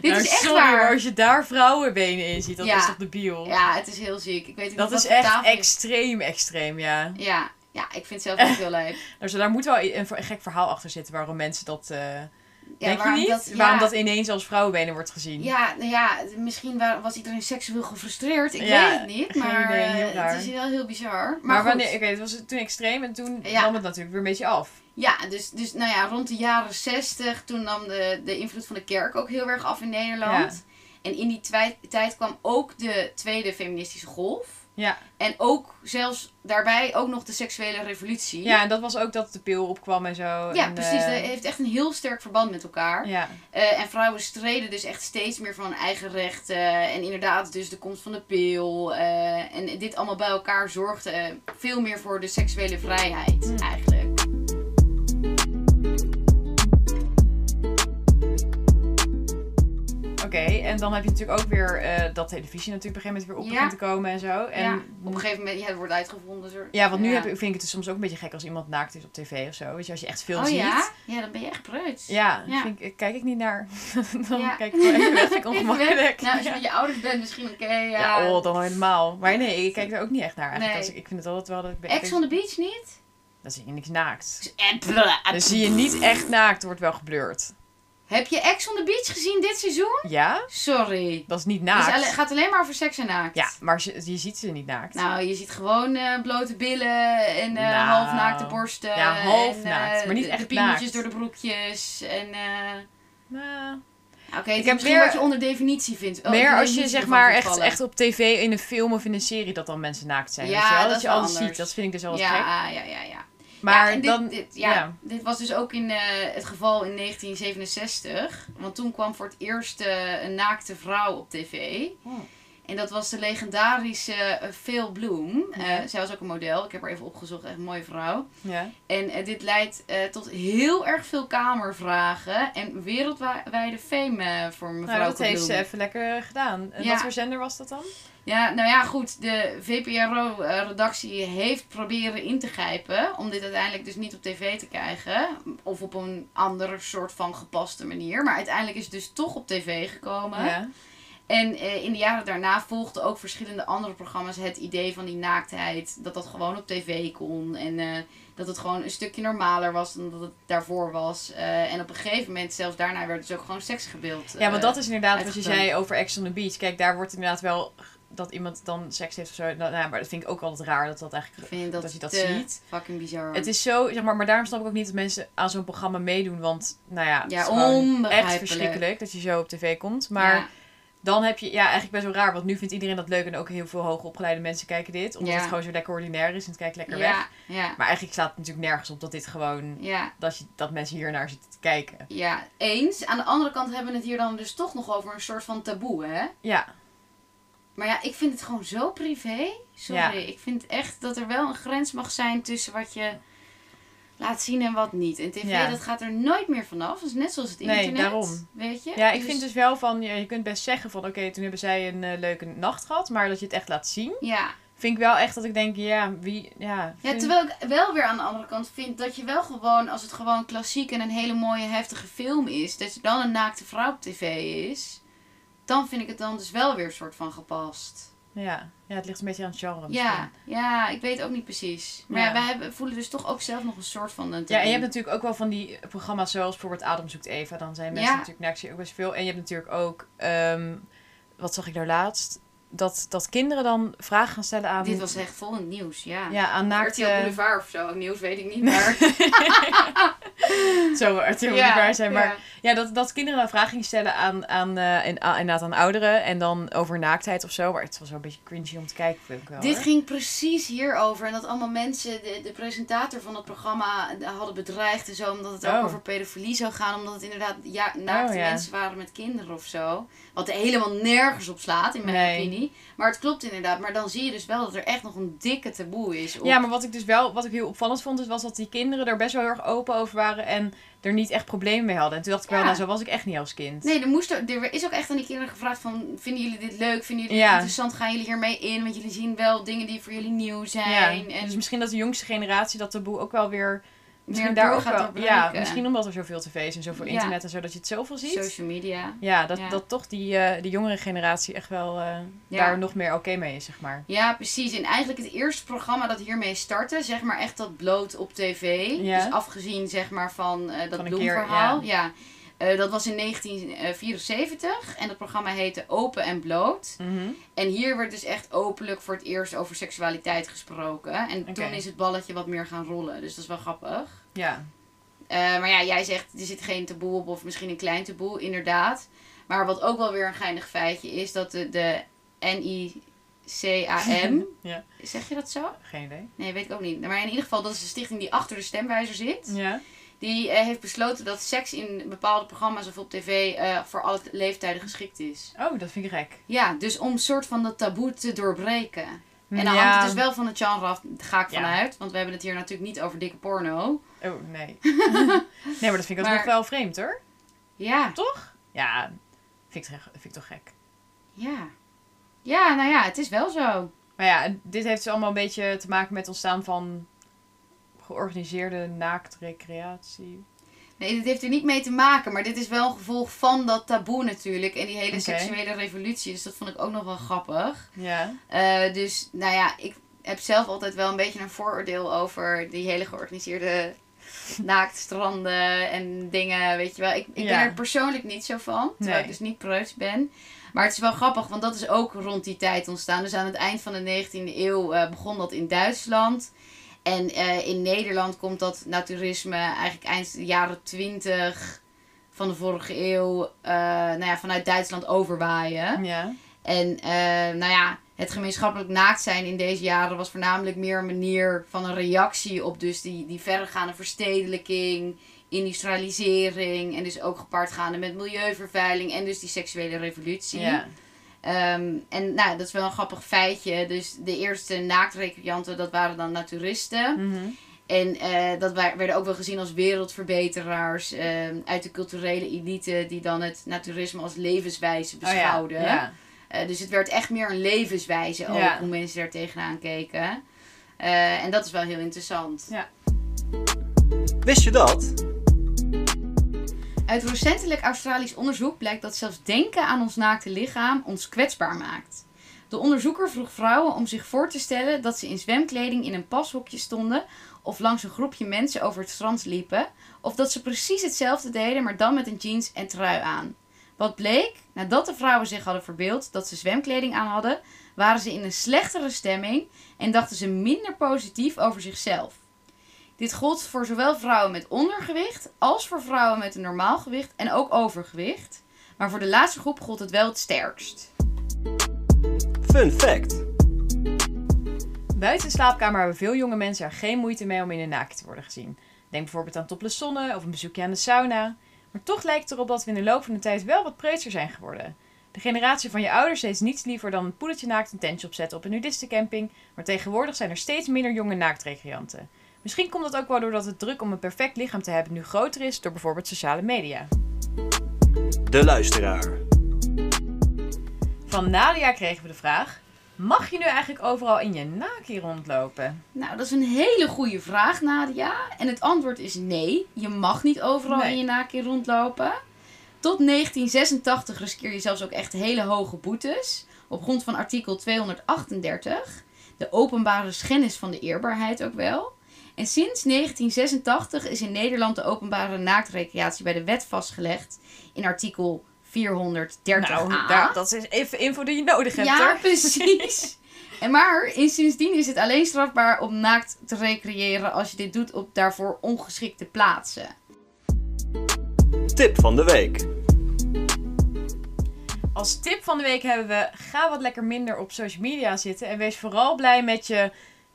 [SPEAKER 2] Dit
[SPEAKER 3] Nou,
[SPEAKER 2] is echt
[SPEAKER 3] sorry, maar
[SPEAKER 2] waar.
[SPEAKER 3] als je daar vrouwenbenen in ziet, dat
[SPEAKER 2] Ja.
[SPEAKER 3] is toch debiel?
[SPEAKER 2] Ja, het is heel ziek. Ik weet niet
[SPEAKER 3] Dat
[SPEAKER 2] wat
[SPEAKER 3] is
[SPEAKER 2] voor
[SPEAKER 3] echt
[SPEAKER 2] tafel-
[SPEAKER 3] extreem, extreem, ja.
[SPEAKER 2] Ja, ja ik vind het zelf ook heel leuk.
[SPEAKER 3] Dus daar moet wel een, een gek verhaal achter zitten waarom mensen dat... eh
[SPEAKER 2] Ja,
[SPEAKER 3] denk je
[SPEAKER 2] waarom
[SPEAKER 3] niet?
[SPEAKER 2] dat- ja.
[SPEAKER 3] Waarom dat ineens als vrouwenbenen wordt gezien.
[SPEAKER 2] Ja, nou ja, misschien wa- was iedereen seksueel gefrustreerd. Ik
[SPEAKER 3] Ja,
[SPEAKER 2] weet het niet,
[SPEAKER 3] geen
[SPEAKER 2] maar
[SPEAKER 3] idee, heel
[SPEAKER 2] eh,
[SPEAKER 3] raar.
[SPEAKER 2] het is wel heel bizar. Maar,
[SPEAKER 3] Maar,
[SPEAKER 2] goed.
[SPEAKER 3] wanneer... Oké, het was toen extreem en toen
[SPEAKER 2] Ja.
[SPEAKER 3] nam het natuurlijk weer een beetje af.
[SPEAKER 2] Ja, dus, dus nou ja, rond de jaren zestig, toen nam de, de invloed van de kerk ook heel erg af in Nederland. En in die twij- tijd kwam ook de tweede feministische golf.
[SPEAKER 3] Ja.
[SPEAKER 2] En ook zelfs daarbij ook nog de seksuele revolutie.
[SPEAKER 3] Ja, en dat was ook dat de pil opkwam en zo.
[SPEAKER 2] Ja,
[SPEAKER 3] en,
[SPEAKER 2] precies. E Dat
[SPEAKER 3] eh,
[SPEAKER 2] heeft echt een heel sterk verband met elkaar.
[SPEAKER 3] ja.
[SPEAKER 2] Eh, en vrouwen streden dus echt steeds meer van hun eigen rechten. En inderdaad, dus de komst van de pil. eh, en dit allemaal bij elkaar zorgde eh, veel meer voor de seksuele vrijheid,
[SPEAKER 3] Mm.
[SPEAKER 2] eigenlijk.
[SPEAKER 3] Oké, en dan heb je natuurlijk ook weer eh, dat televisie natuurlijk op een gegeven moment weer op
[SPEAKER 2] Ja.
[SPEAKER 3] begint te komen en zo. En
[SPEAKER 2] ja, op een gegeven moment ja, het wordt uitgevonden. zo-
[SPEAKER 3] Ja, want nu
[SPEAKER 2] ja.
[SPEAKER 3] heb ik- vind ik het dus soms ook een beetje gek als iemand naakt is op tv of zo. Weet je, als je echt veel
[SPEAKER 2] Oh
[SPEAKER 3] ziet.
[SPEAKER 2] ja? Ja, dan ben je echt preuts.
[SPEAKER 3] Ja,
[SPEAKER 2] Ja.
[SPEAKER 3] Vind ik, kijk ik niet naar. dan
[SPEAKER 2] Ja.
[SPEAKER 3] kijk ik wel even weg, vind ik ongemakkelijk.
[SPEAKER 2] Nou, als je
[SPEAKER 3] ja.
[SPEAKER 2] met je ouders bent, misschien oké. ja.
[SPEAKER 3] Ja, oh, dan helemaal. Maar nee, ik kijk er ook niet echt naar eigenlijk.
[SPEAKER 2] Nee.
[SPEAKER 3] Als ik, ik vind het altijd wel dat ik Dus, eh, ben...
[SPEAKER 2] Ex on the beach niet?
[SPEAKER 3] Dan zie je niks naakt.
[SPEAKER 2] En bleh.
[SPEAKER 3] Dan zie je niet echt naakt, wordt wel geblurred.
[SPEAKER 2] Heb je Ex on the beach gezien dit seizoen?
[SPEAKER 3] Ja,
[SPEAKER 2] Sorry.
[SPEAKER 3] dat is niet
[SPEAKER 2] Het
[SPEAKER 3] naakt.
[SPEAKER 2] is Dus alle- gaat alleen maar over seks en naakt.
[SPEAKER 3] Ja, maar ze- je ziet ze niet naakt.
[SPEAKER 2] Nou, je ziet gewoon eh, blote billen en eh
[SPEAKER 3] Nou.
[SPEAKER 2] halfnaakte borsten.
[SPEAKER 3] Ja, halfnaakt,
[SPEAKER 2] en, eh,
[SPEAKER 3] maar niet
[SPEAKER 2] de- De
[SPEAKER 3] echt
[SPEAKER 2] piemels
[SPEAKER 3] naakt.
[SPEAKER 2] door de broekjes. En, eh,
[SPEAKER 3] Nou,
[SPEAKER 2] Oké, het is
[SPEAKER 3] heb
[SPEAKER 2] misschien
[SPEAKER 3] meer-
[SPEAKER 2] wat je onder definitie vindt. Oh,
[SPEAKER 3] meer
[SPEAKER 2] de
[SPEAKER 3] als je
[SPEAKER 2] definitie
[SPEAKER 3] zeg
[SPEAKER 2] ervan
[SPEAKER 3] maar
[SPEAKER 2] vindt
[SPEAKER 3] echt,
[SPEAKER 2] vallen.
[SPEAKER 3] echt op tv, in een film of in een serie, dat dan mensen naakt zijn.
[SPEAKER 2] Ja,
[SPEAKER 3] weet je wel?
[SPEAKER 2] dat
[SPEAKER 3] Dat,
[SPEAKER 2] is
[SPEAKER 3] je
[SPEAKER 2] wel
[SPEAKER 3] alles
[SPEAKER 2] anders.
[SPEAKER 3] ziet, dat vind ik dus wel wat gek.
[SPEAKER 2] ja, ja, ja, ja.
[SPEAKER 3] Maar
[SPEAKER 2] ja, en dit,
[SPEAKER 3] dan...
[SPEAKER 2] dit, ja,
[SPEAKER 3] ja.
[SPEAKER 2] dit was dus ook in eh, het geval in 1967. Want toen kwam voor het eerst eh, een naakte vrouw op tv.
[SPEAKER 3] Oh.
[SPEAKER 2] En dat was de legendarische eh, Phil Bloom. Eh,
[SPEAKER 3] Ja.
[SPEAKER 2] zij was ook een model. Ik heb haar even opgezocht. Echt een mooie vrouw.
[SPEAKER 3] Ja.
[SPEAKER 2] En eh, dit leidt eh, tot heel erg veel kamervragen. En wereldwijde fame eh, voor mevrouw
[SPEAKER 3] Nou, dat heeft
[SPEAKER 2] Bloem.
[SPEAKER 3] ze even lekker gedaan. En
[SPEAKER 2] Ja.
[SPEAKER 3] wat voor zender was dat dan?
[SPEAKER 2] Ja, nou ja, goed. De VPRO-redactie heeft proberen in te grijpen. Om dit uiteindelijk dus niet op tv te krijgen. Of op een andere soort van gepaste manier. Maar uiteindelijk is het dus toch op tv gekomen.
[SPEAKER 3] Ja.
[SPEAKER 2] En eh, in de jaren daarna volgden ook verschillende andere programma's het idee van die naaktheid. Dat dat gewoon op tv kon. En eh, dat het gewoon een stukje normaler was dan dat het daarvoor was. Eh, en op een gegeven moment, zelfs daarna, werd dus ook gewoon seks gebeeld.
[SPEAKER 3] ja, want
[SPEAKER 2] eh,
[SPEAKER 3] dat is inderdaad wat je
[SPEAKER 2] uitgekomen.
[SPEAKER 3] zei over Ex on the Beach. Kijk, daar wordt inderdaad wel g- dat iemand dan seks heeft of zo. Nou, nou, maar dat vind ik ook altijd raar dat dat
[SPEAKER 2] Ik
[SPEAKER 3] eigenlijk...
[SPEAKER 2] vind dat,
[SPEAKER 3] dat je dat
[SPEAKER 2] te
[SPEAKER 3] ziet.
[SPEAKER 2] fucking bizar.
[SPEAKER 3] Het is zo, zeg maar, maar daarom snap ik ook niet dat mensen aan zo'n programma meedoen. Want, nou ja, het
[SPEAKER 2] Ja,
[SPEAKER 3] is gewoon
[SPEAKER 2] onbegrijpelijk.
[SPEAKER 3] echt verschrikkelijk dat je zo op tv komt. Maar
[SPEAKER 2] Ja.
[SPEAKER 3] dan heb je, ja, eigenlijk best wel raar. Want nu vindt iedereen dat leuk en ook heel veel hoogopgeleide mensen kijken dit. Omdat
[SPEAKER 2] Ja.
[SPEAKER 3] het gewoon zo lekker ordinair is en het kijkt lekker weg.
[SPEAKER 2] Ja, ja,
[SPEAKER 3] Maar eigenlijk staat het natuurlijk nergens op dat dit gewoon...
[SPEAKER 2] ja,
[SPEAKER 3] Dat, je, dat mensen hier naar zitten te kijken.
[SPEAKER 2] ja, eens. Aan de andere kant hebben we het hier dan dus toch nog over een soort van taboe, hè?
[SPEAKER 3] Ja,
[SPEAKER 2] Maar ja, ik vind het gewoon zo privé. Sorry,
[SPEAKER 3] Ja.
[SPEAKER 2] ik vind echt dat er wel een grens mag zijn tussen wat je laat zien en wat niet. En tv,
[SPEAKER 3] Ja.
[SPEAKER 2] dat gaat er nooit meer vanaf. Dat is net zoals het
[SPEAKER 3] Nee,
[SPEAKER 2] internet.
[SPEAKER 3] daarom.
[SPEAKER 2] Weet je?
[SPEAKER 3] ja ik
[SPEAKER 2] Dus-
[SPEAKER 3] vind dus wel van, ja, je kunt best zeggen van oké, toen hebben zij een eh, leuke nacht gehad, maar dat je het echt laat zien,
[SPEAKER 2] Ja.
[SPEAKER 3] vind ik wel echt dat ik denk, ja, wie, ja.
[SPEAKER 2] ja,
[SPEAKER 3] vind-
[SPEAKER 2] terwijl ik wel weer aan de andere kant vind dat je wel gewoon, als het gewoon klassiek en een hele mooie heftige film is, dat er dan een naakte vrouw op tv is, dan vind ik het dan dus wel weer een soort van gepast.
[SPEAKER 3] Ja. ja, het ligt een beetje aan het genre
[SPEAKER 2] Ja,
[SPEAKER 3] misschien.
[SPEAKER 2] ja, ik weet ook niet precies. Maar ja,
[SPEAKER 3] Ja.
[SPEAKER 2] wij hebben, voelen dus toch ook zelf nog een soort van een
[SPEAKER 3] Ja, en je
[SPEAKER 2] taboe.
[SPEAKER 3] hebt natuurlijk ook wel van die programma's zoals bijvoorbeeld Adam zoekt Eva, dan zijn mensen
[SPEAKER 2] Ja.
[SPEAKER 3] natuurlijk naakt zie je ook best veel. En je hebt natuurlijk ook, ehm, wat zag ik daar laatst, dat, dat kinderen dan vragen gaan stellen aan...
[SPEAKER 2] Dit was echt vol in het nieuws, ja.
[SPEAKER 3] Ja, aan naakte...
[SPEAKER 2] RTL Boulevard of zo, nieuws weet ik niet, maar...
[SPEAKER 3] Zo, RTL Boulevard zijn, maar Ja, dat, dat kinderen dan vragen gingen stellen aan, aan, eh, en, aan, inderdaad aan ouderen. En dan over naaktheid of zo. Maar het was wel een beetje cringy om te kijken, vind ik wel.
[SPEAKER 2] Dit
[SPEAKER 3] hoor.
[SPEAKER 2] ging precies hierover. En dat allemaal mensen, de, de presentator van dat programma, de- hadden bedreigd en zo. Omdat het ook
[SPEAKER 3] Oh.
[SPEAKER 2] over pedofilie zou gaan. Omdat het inderdaad ja, naakte
[SPEAKER 3] Oh, ja.
[SPEAKER 2] mensen waren met kinderen of zo. Wat er helemaal nergens op slaat, in mijn
[SPEAKER 3] Nee.
[SPEAKER 2] opinie. Maar het klopt inderdaad. Maar dan zie je dus wel dat er echt nog een dikke taboe is. op-
[SPEAKER 3] Ja, maar wat ik dus wel wat ik heel opvallend vond, is was dat die kinderen er best wel heel erg open over waren. En er niet echt problemen mee hadden. En toen dacht ik
[SPEAKER 2] Ja.
[SPEAKER 3] wel, nou zo was ik echt niet als kind.
[SPEAKER 2] Nee, er, moest er, er is ook echt aan die kinderen gevraagd van... Vinden jullie dit leuk? Vinden jullie dit
[SPEAKER 3] Ja.
[SPEAKER 2] interessant? Gaan jullie hiermee in? Want jullie zien wel dingen die voor jullie nieuw
[SPEAKER 3] Ja,
[SPEAKER 2] zijn. En
[SPEAKER 3] dus misschien dat de jongste generatie dat taboe ook wel weer... Misschien
[SPEAKER 2] meer
[SPEAKER 3] daar
[SPEAKER 2] door
[SPEAKER 3] ook
[SPEAKER 2] gaat
[SPEAKER 3] wel, ja, misschien omdat er zoveel tv is en zoveel
[SPEAKER 2] Ja.
[SPEAKER 3] internet en zo, dat je het zoveel ziet.
[SPEAKER 2] Social media.
[SPEAKER 3] Ja, dat,
[SPEAKER 2] Ja.
[SPEAKER 3] dat toch die, eh, de jongere generatie echt wel eh,
[SPEAKER 2] Ja.
[SPEAKER 3] daar nog meer oké mee is, zeg maar.
[SPEAKER 2] Ja, precies. En eigenlijk het eerste programma dat hiermee startte, zeg maar echt dat bloot op tv.
[SPEAKER 3] Ja.
[SPEAKER 2] Dus afgezien zeg maar van eh, dat
[SPEAKER 3] Van een
[SPEAKER 2] bloemverhaal. ja. Eh, dat was in 1974 en dat programma heette Open en Bloot.
[SPEAKER 3] Mhm.
[SPEAKER 2] En hier werd dus echt openlijk voor het eerst over seksualiteit gesproken. En toen is het balletje wat meer gaan rollen, dus dat is wel grappig.
[SPEAKER 3] Ja.
[SPEAKER 2] Eh, maar ja, jij zegt er zit geen taboe op, of misschien een klein taboe, inderdaad. Maar wat ook wel weer een geinig feitje is dat de, de NICAM.
[SPEAKER 3] Ja.
[SPEAKER 2] Zeg je dat zo?
[SPEAKER 3] Geen idee.
[SPEAKER 2] Nee, weet ik ook niet. Maar in ieder geval, dat is de stichting die achter de stemwijzer zit.
[SPEAKER 3] Ja.
[SPEAKER 2] Die eh, heeft besloten dat seks in bepaalde programma's of op tv eh, voor alle leeftijden geschikt is.
[SPEAKER 3] Oh, dat vind ik gek.
[SPEAKER 2] Ja, dus om een soort van dat taboe te doorbreken. En dan
[SPEAKER 3] Ja.
[SPEAKER 2] hangt het dus wel van het genre af, daar ga ik
[SPEAKER 3] Ja.
[SPEAKER 2] vanuit. Want we hebben het hier natuurlijk niet over dikke porno.
[SPEAKER 3] Oh, nee. nee, maar dat vind ik
[SPEAKER 2] Maar-
[SPEAKER 3] alsnog wel vreemd hoor.
[SPEAKER 2] Ja,
[SPEAKER 3] Toch? Ja. Vind ik, echt- vind ik toch gek.
[SPEAKER 2] Ja. Ja, nou ja, het is wel zo.
[SPEAKER 3] Maar ja, dit heeft dus allemaal een beetje te maken met het ontstaan van georganiseerde naaktrecreatie.
[SPEAKER 2] Nee, dit heeft er niet mee te maken, maar dit is wel een gevolg van dat taboe natuurlijk. En die hele
[SPEAKER 3] Oké.
[SPEAKER 2] seksuele revolutie. Dus dat vond ik ook nog wel grappig.
[SPEAKER 3] Ja.
[SPEAKER 2] Eh, dus nou ja, ik heb zelf altijd wel een beetje een vooroordeel over die hele georganiseerde naaktstranden en dingen, weet je wel. Ik, ik ben
[SPEAKER 3] Ja.
[SPEAKER 2] er persoonlijk niet zo van, terwijl ik
[SPEAKER 3] Nee.
[SPEAKER 2] dus niet preuts ben. Maar het is wel grappig, want dat is ook rond die tijd ontstaan. Dus aan het eind van de 19e eeuw eh, begon dat in Duitsland. En eh, in Nederland komt dat naturisme eigenlijk eind de jaren 20 van de vorige eeuw eh, nou ja, vanuit Duitsland overwaaien.
[SPEAKER 3] Ja.
[SPEAKER 2] En eh, nou ja, het gemeenschappelijk naakt zijn in deze jaren was voornamelijk meer een manier van een reactie op dus die, die verregaande verstedelijking, industrialisering en dus ook gepaardgaande met milieuvervuiling en dus die seksuele revolutie.
[SPEAKER 3] Ja.
[SPEAKER 2] Ehm, en nou, dat is wel een grappig feitje. Dus de eerste naaktrecreanten, dat waren dan naturisten.
[SPEAKER 3] Mhm.
[SPEAKER 2] En eh, dat wa- werden ook wel gezien als wereldverbeteraars ehm, uit de culturele elite die dan het naturisme als levenswijze
[SPEAKER 3] Oh ja,
[SPEAKER 2] beschouwden.
[SPEAKER 3] ja.
[SPEAKER 2] Eh, dus het werd echt meer een levenswijze ook,
[SPEAKER 3] Ja.
[SPEAKER 2] hoe mensen daar tegenaan keken. Eh, en dat is wel heel interessant.
[SPEAKER 1] Wist je dat?
[SPEAKER 2] Uit recentelijk Australisch onderzoek blijkt dat zelfs denken aan ons naakte lichaam ons kwetsbaar maakt. De onderzoeker vroeg vrouwen om zich voor te stellen dat ze in zwemkleding in een pashokje stonden of langs een groepje mensen over het strand liepen, of dat ze precies hetzelfde deden, maar dan met een jeans en trui aan. Wat bleek? Nadat de vrouwen zich hadden verbeeld dat ze zwemkleding aan hadden, waren ze in een slechtere stemming en dachten ze minder positief over zichzelf. Dit gold voor zowel vrouwen met ondergewicht als voor vrouwen met een normaal gewicht en ook overgewicht. Maar voor de laatste groep gold het wel het sterkst.
[SPEAKER 1] Fun fact.
[SPEAKER 3] Buiten de slaapkamer hebben veel jonge mensen er geen moeite mee om in de naakt te worden gezien. Denk bijvoorbeeld aan topless zonnen of een bezoekje aan de sauna. Maar toch lijkt het erop dat we in de loop van de tijd wel wat preutser zijn geworden. De generatie van je ouders deed niets liever dan een poedertje naakt een tentje opzetten op een nudistencamping. Maar tegenwoordig zijn er steeds minder jonge naaktrecreanten. Misschien komt dat ook wel doordat de druk om een perfect lichaam te hebben nu groter is door bijvoorbeeld sociale media.
[SPEAKER 1] De luisteraar.
[SPEAKER 3] Van Nadia kregen we de vraag: mag je nu eigenlijk overal in je naak hier rondlopen?
[SPEAKER 2] Nou, dat is een hele goede vraag, Nadia. En het antwoord is nee. Je mag niet overal
[SPEAKER 3] Nee.
[SPEAKER 2] in je naakje rondlopen. Tot 1986 riskeer je zelfs ook echt hele hoge boetes. Op grond van artikel 238. De openbare schennis van de eerbaarheid ook wel. En sinds 1986 is in Nederland de openbare naaktrecreatie bij de wet vastgelegd. In artikel 430a.
[SPEAKER 3] Nou, daar- dat is even info die je nodig hebt,
[SPEAKER 2] Ja,
[SPEAKER 3] hoor.
[SPEAKER 2] precies. En maar in- sindsdien is het alleen strafbaar om naakt te recreëren als je dit doet op daarvoor ongeschikte plaatsen.
[SPEAKER 1] Tip van de week.
[SPEAKER 3] Als tip van de week hebben we: ga wat lekker minder op social media zitten. En wees vooral blij met je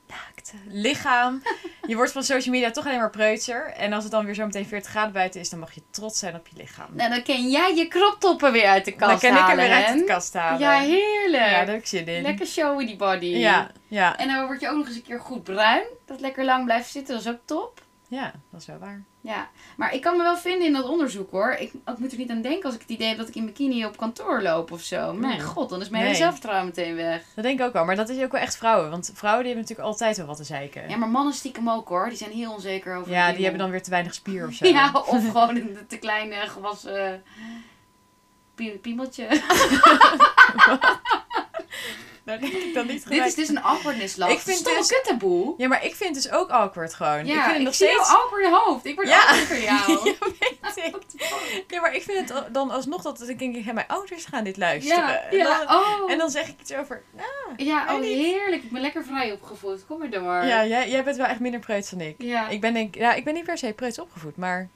[SPEAKER 3] naakte lichaam. Je wordt van social media toch alleen maar preutser. En als het dan weer zo meteen 40 graden buiten is, dan mag je trots zijn op je lichaam.
[SPEAKER 2] Nou, dan ken jij je kroptoppen weer uit de kast
[SPEAKER 3] dan kan ik hem
[SPEAKER 2] halen,
[SPEAKER 3] weer uit
[SPEAKER 2] hè?
[SPEAKER 3] de kast halen.
[SPEAKER 2] Ja, heerlijk.
[SPEAKER 3] Ja, daar heb ik zin in.
[SPEAKER 2] Lekker showy die body.
[SPEAKER 3] Ja, ja,
[SPEAKER 2] En dan word je ook nog eens een keer goed bruin. Dat lekker lang blijft zitten, dat is ook top.
[SPEAKER 3] ja, dat is wel waar.
[SPEAKER 2] Ja, maar ik kan me wel vinden in dat onderzoek hoor. Ik, ik moet er niet aan denken als ik het idee heb dat ik in bikini op kantoor loop of zo. Mijn
[SPEAKER 3] Nee.
[SPEAKER 2] god, dan is mijn hele
[SPEAKER 3] Nee.
[SPEAKER 2] zelfvertrouwen meteen weg.
[SPEAKER 3] Dat denk ik ook wel. Maar dat is ook wel echt vrouwen. Want vrouwen die hebben natuurlijk altijd wel wat te zeiken.
[SPEAKER 2] Ja,
[SPEAKER 3] Ja,
[SPEAKER 2] maar mannen stiekem ook hoor. Die zijn heel onzeker over hun
[SPEAKER 3] die
[SPEAKER 2] piemel.
[SPEAKER 3] hebben dan weer te weinig spier of zo.
[SPEAKER 2] Ja, of gewoon een te klein eh, gewassen pie- piemeltje.
[SPEAKER 3] Daar denk ik dan niet
[SPEAKER 2] Dit is
[SPEAKER 3] gelijk.
[SPEAKER 2] dus een awkwardness last.
[SPEAKER 3] Ik vind
[SPEAKER 2] Stomme
[SPEAKER 3] dus-
[SPEAKER 2] kuttaboe.
[SPEAKER 3] Ja, maar ik vind het dus ook awkward gewoon. ik vind het nog
[SPEAKER 2] zie
[SPEAKER 3] steeds...
[SPEAKER 2] jouw awkward hoofd. Ik word
[SPEAKER 3] Ja.
[SPEAKER 2] awkward voor jou.
[SPEAKER 3] Ja, weet ik. Nee, maar ik vind het dan alsnog dat ik denk, hé, mijn ouders gaan dit luisteren.
[SPEAKER 2] ja,
[SPEAKER 3] En, dan,
[SPEAKER 2] oh.
[SPEAKER 3] en dan zeg ik iets over, ah,
[SPEAKER 2] ja,
[SPEAKER 3] weet
[SPEAKER 2] oh
[SPEAKER 3] niet.
[SPEAKER 2] heerlijk. Ik ben lekker vrij opgevoed. Kom maar door.
[SPEAKER 3] ja, jij, jij bent wel echt minder preuts dan ik.
[SPEAKER 2] Ja.
[SPEAKER 3] Ik ben denk, ja, ik ben niet per se preuts opgevoed, maar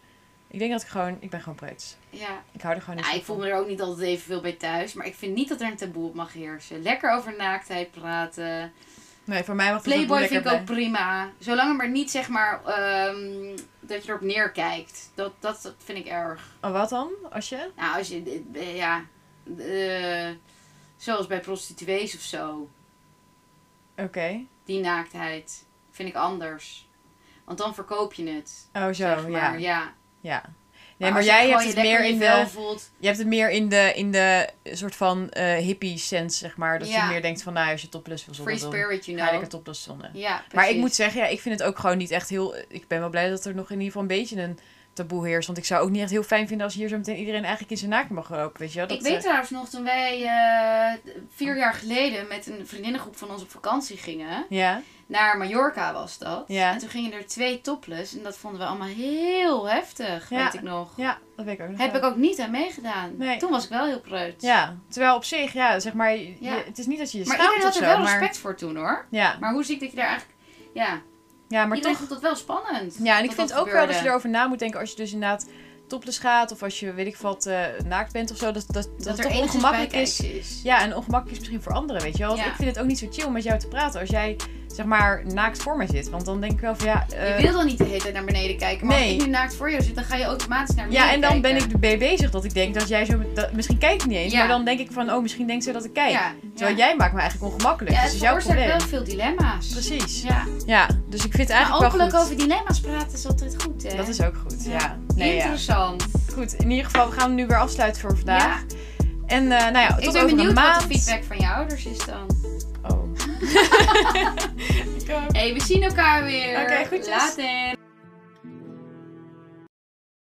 [SPEAKER 3] ik denk dat ik gewoon, ik ben gewoon preuts.
[SPEAKER 2] ja.
[SPEAKER 3] Ik hou er gewoon niet
[SPEAKER 2] Nou,
[SPEAKER 3] zo
[SPEAKER 2] ik voel
[SPEAKER 3] van.
[SPEAKER 2] me er ook niet altijd even veel bij thuis. Maar ik vind niet dat er een taboe op mag heersen. Lekker over naaktheid praten.
[SPEAKER 3] Nee, voor mij mag dat
[SPEAKER 2] Playboy
[SPEAKER 3] lekker
[SPEAKER 2] vind ik ook
[SPEAKER 3] blijven.
[SPEAKER 2] prima. Zolang het maar niet zeg maar ehm, dat je erop neerkijkt. Dat, dat, dat vind ik erg.
[SPEAKER 3] Oh, wat dan? Als je?
[SPEAKER 2] Nou, als je, eh, ja, eh, zoals bij prostituees of zo.
[SPEAKER 3] Oké.
[SPEAKER 2] Die naaktheid vind ik anders. Want dan verkoop je het.
[SPEAKER 3] Oh, zo,
[SPEAKER 2] zeg maar.
[SPEAKER 3] ja.
[SPEAKER 2] ja.
[SPEAKER 3] Ja. Nee, maar,
[SPEAKER 2] als
[SPEAKER 3] jij
[SPEAKER 2] gewoon
[SPEAKER 3] hebt het
[SPEAKER 2] je lekker
[SPEAKER 3] meer in
[SPEAKER 2] je
[SPEAKER 3] de,
[SPEAKER 2] wel voelt.
[SPEAKER 3] je hebt het meer in de, in de soort van eh hippie sense, zeg maar. Dat
[SPEAKER 2] Ja.
[SPEAKER 3] je meer denkt van, nou, als je topless wil
[SPEAKER 2] Free
[SPEAKER 3] zonnen, dan ga
[SPEAKER 2] spirit, you
[SPEAKER 3] je
[SPEAKER 2] know.
[SPEAKER 3] lekker topless zonnen.
[SPEAKER 2] Ja, precies.
[SPEAKER 3] Maar ik moet zeggen, ja, ik vind het ook gewoon niet echt heel... Ik ben wel blij dat er nog in ieder geval een beetje een taboe heerst. Want ik zou ook niet echt heel fijn vinden als hier zo meteen iedereen eigenlijk in zijn naakt mag lopen, weet je wel. Dat,
[SPEAKER 2] ik weet
[SPEAKER 3] eh,
[SPEAKER 2] trouwens nog, toen wij eh, vier jaar geleden met een vriendinnengroep van ons op vakantie gingen,
[SPEAKER 3] Ja,
[SPEAKER 2] naar Mallorca was dat.
[SPEAKER 3] Ja.
[SPEAKER 2] En toen gingen er twee topless en dat vonden we allemaal heel heftig,
[SPEAKER 3] Ja.
[SPEAKER 2] weet ik nog.
[SPEAKER 3] ja, dat weet ik ook nog
[SPEAKER 2] Heb
[SPEAKER 3] wel.
[SPEAKER 2] ik ook niet aan meegedaan.
[SPEAKER 3] Nee.
[SPEAKER 2] Toen was ik wel heel preut.
[SPEAKER 3] Ja, terwijl op zich, ja, zeg maar, je-
[SPEAKER 2] Ja.
[SPEAKER 3] het is niet dat je je
[SPEAKER 2] Maar
[SPEAKER 3] schaamt
[SPEAKER 2] iedereen
[SPEAKER 3] of
[SPEAKER 2] had
[SPEAKER 3] zo.
[SPEAKER 2] er wel
[SPEAKER 3] maar,
[SPEAKER 2] respect voor toen hoor.
[SPEAKER 3] Ja,
[SPEAKER 2] Maar hoe ziek dat je daar eigenlijk... Ja,
[SPEAKER 3] ja, maar
[SPEAKER 2] iedereen
[SPEAKER 3] toch...
[SPEAKER 2] vond dat wel spannend.
[SPEAKER 3] Ja, en ik
[SPEAKER 2] dat
[SPEAKER 3] vind
[SPEAKER 2] dat
[SPEAKER 3] ook wel dat je
[SPEAKER 2] gebeurde.
[SPEAKER 3] erover na moet denken als je dus inderdaad topless gaat of als je, weet ik wat, eh, naakt bent of zo. Dat, dat, dat, het
[SPEAKER 2] er
[SPEAKER 3] toch
[SPEAKER 2] enigszins
[SPEAKER 3] ongemakkelijk is.
[SPEAKER 2] bijkijkje is.
[SPEAKER 3] Ja, en ongemakkelijk is misschien voor anderen, weet je wel. Want
[SPEAKER 2] Ja.
[SPEAKER 3] ik vind het ook niet zo chill om met jou te praten als jij, zeg maar, naakt voor mij zit. Want dan denk ik wel van, ja... eh,
[SPEAKER 2] Je wil dan niet de hele tijd naar beneden kijken. Maar
[SPEAKER 3] Nee.
[SPEAKER 2] als ik nu naakt voor jou zit, dan ga je automatisch naar beneden
[SPEAKER 3] ja, en dan ben
[SPEAKER 2] kijken.
[SPEAKER 3] ik erbij bezig dat ik denk dat jij zo... Dat, misschien kijk ik niet eens,
[SPEAKER 2] Ja.
[SPEAKER 3] maar dan denk ik van, oh, misschien denkt ze dat ik kijk.
[SPEAKER 2] Ja,
[SPEAKER 3] Terwijl
[SPEAKER 2] ja.
[SPEAKER 3] jij maakt me eigenlijk ongemakkelijk.
[SPEAKER 2] Ja,
[SPEAKER 3] dus
[SPEAKER 2] het
[SPEAKER 3] dat is jouw
[SPEAKER 2] veroorzaakt
[SPEAKER 3] probleem.
[SPEAKER 2] wel veel dilemma's.
[SPEAKER 3] Precies. Ja.
[SPEAKER 2] Ja.
[SPEAKER 3] dus ik vind het
[SPEAKER 2] Maar
[SPEAKER 3] eigenlijk wel
[SPEAKER 2] openlijk
[SPEAKER 3] goed.
[SPEAKER 2] over dilemma's praten is altijd goed, hè?
[SPEAKER 3] Dat is ook goed, ja. Nee, ja.
[SPEAKER 2] Interessant.
[SPEAKER 3] Goed, in ieder geval, we gaan hem nu weer afsluiten voor vandaag.
[SPEAKER 2] Ja.
[SPEAKER 3] En eh, nou ja,
[SPEAKER 2] Ik
[SPEAKER 3] tot
[SPEAKER 2] ben
[SPEAKER 3] over
[SPEAKER 2] benieuwd wat
[SPEAKER 3] een
[SPEAKER 2] de
[SPEAKER 3] maand.
[SPEAKER 2] feedback van je ouders is dan.
[SPEAKER 3] Oh. Ik ook.
[SPEAKER 2] Hé, hey, we zien elkaar weer.
[SPEAKER 3] Oké, goedjes.
[SPEAKER 2] Later.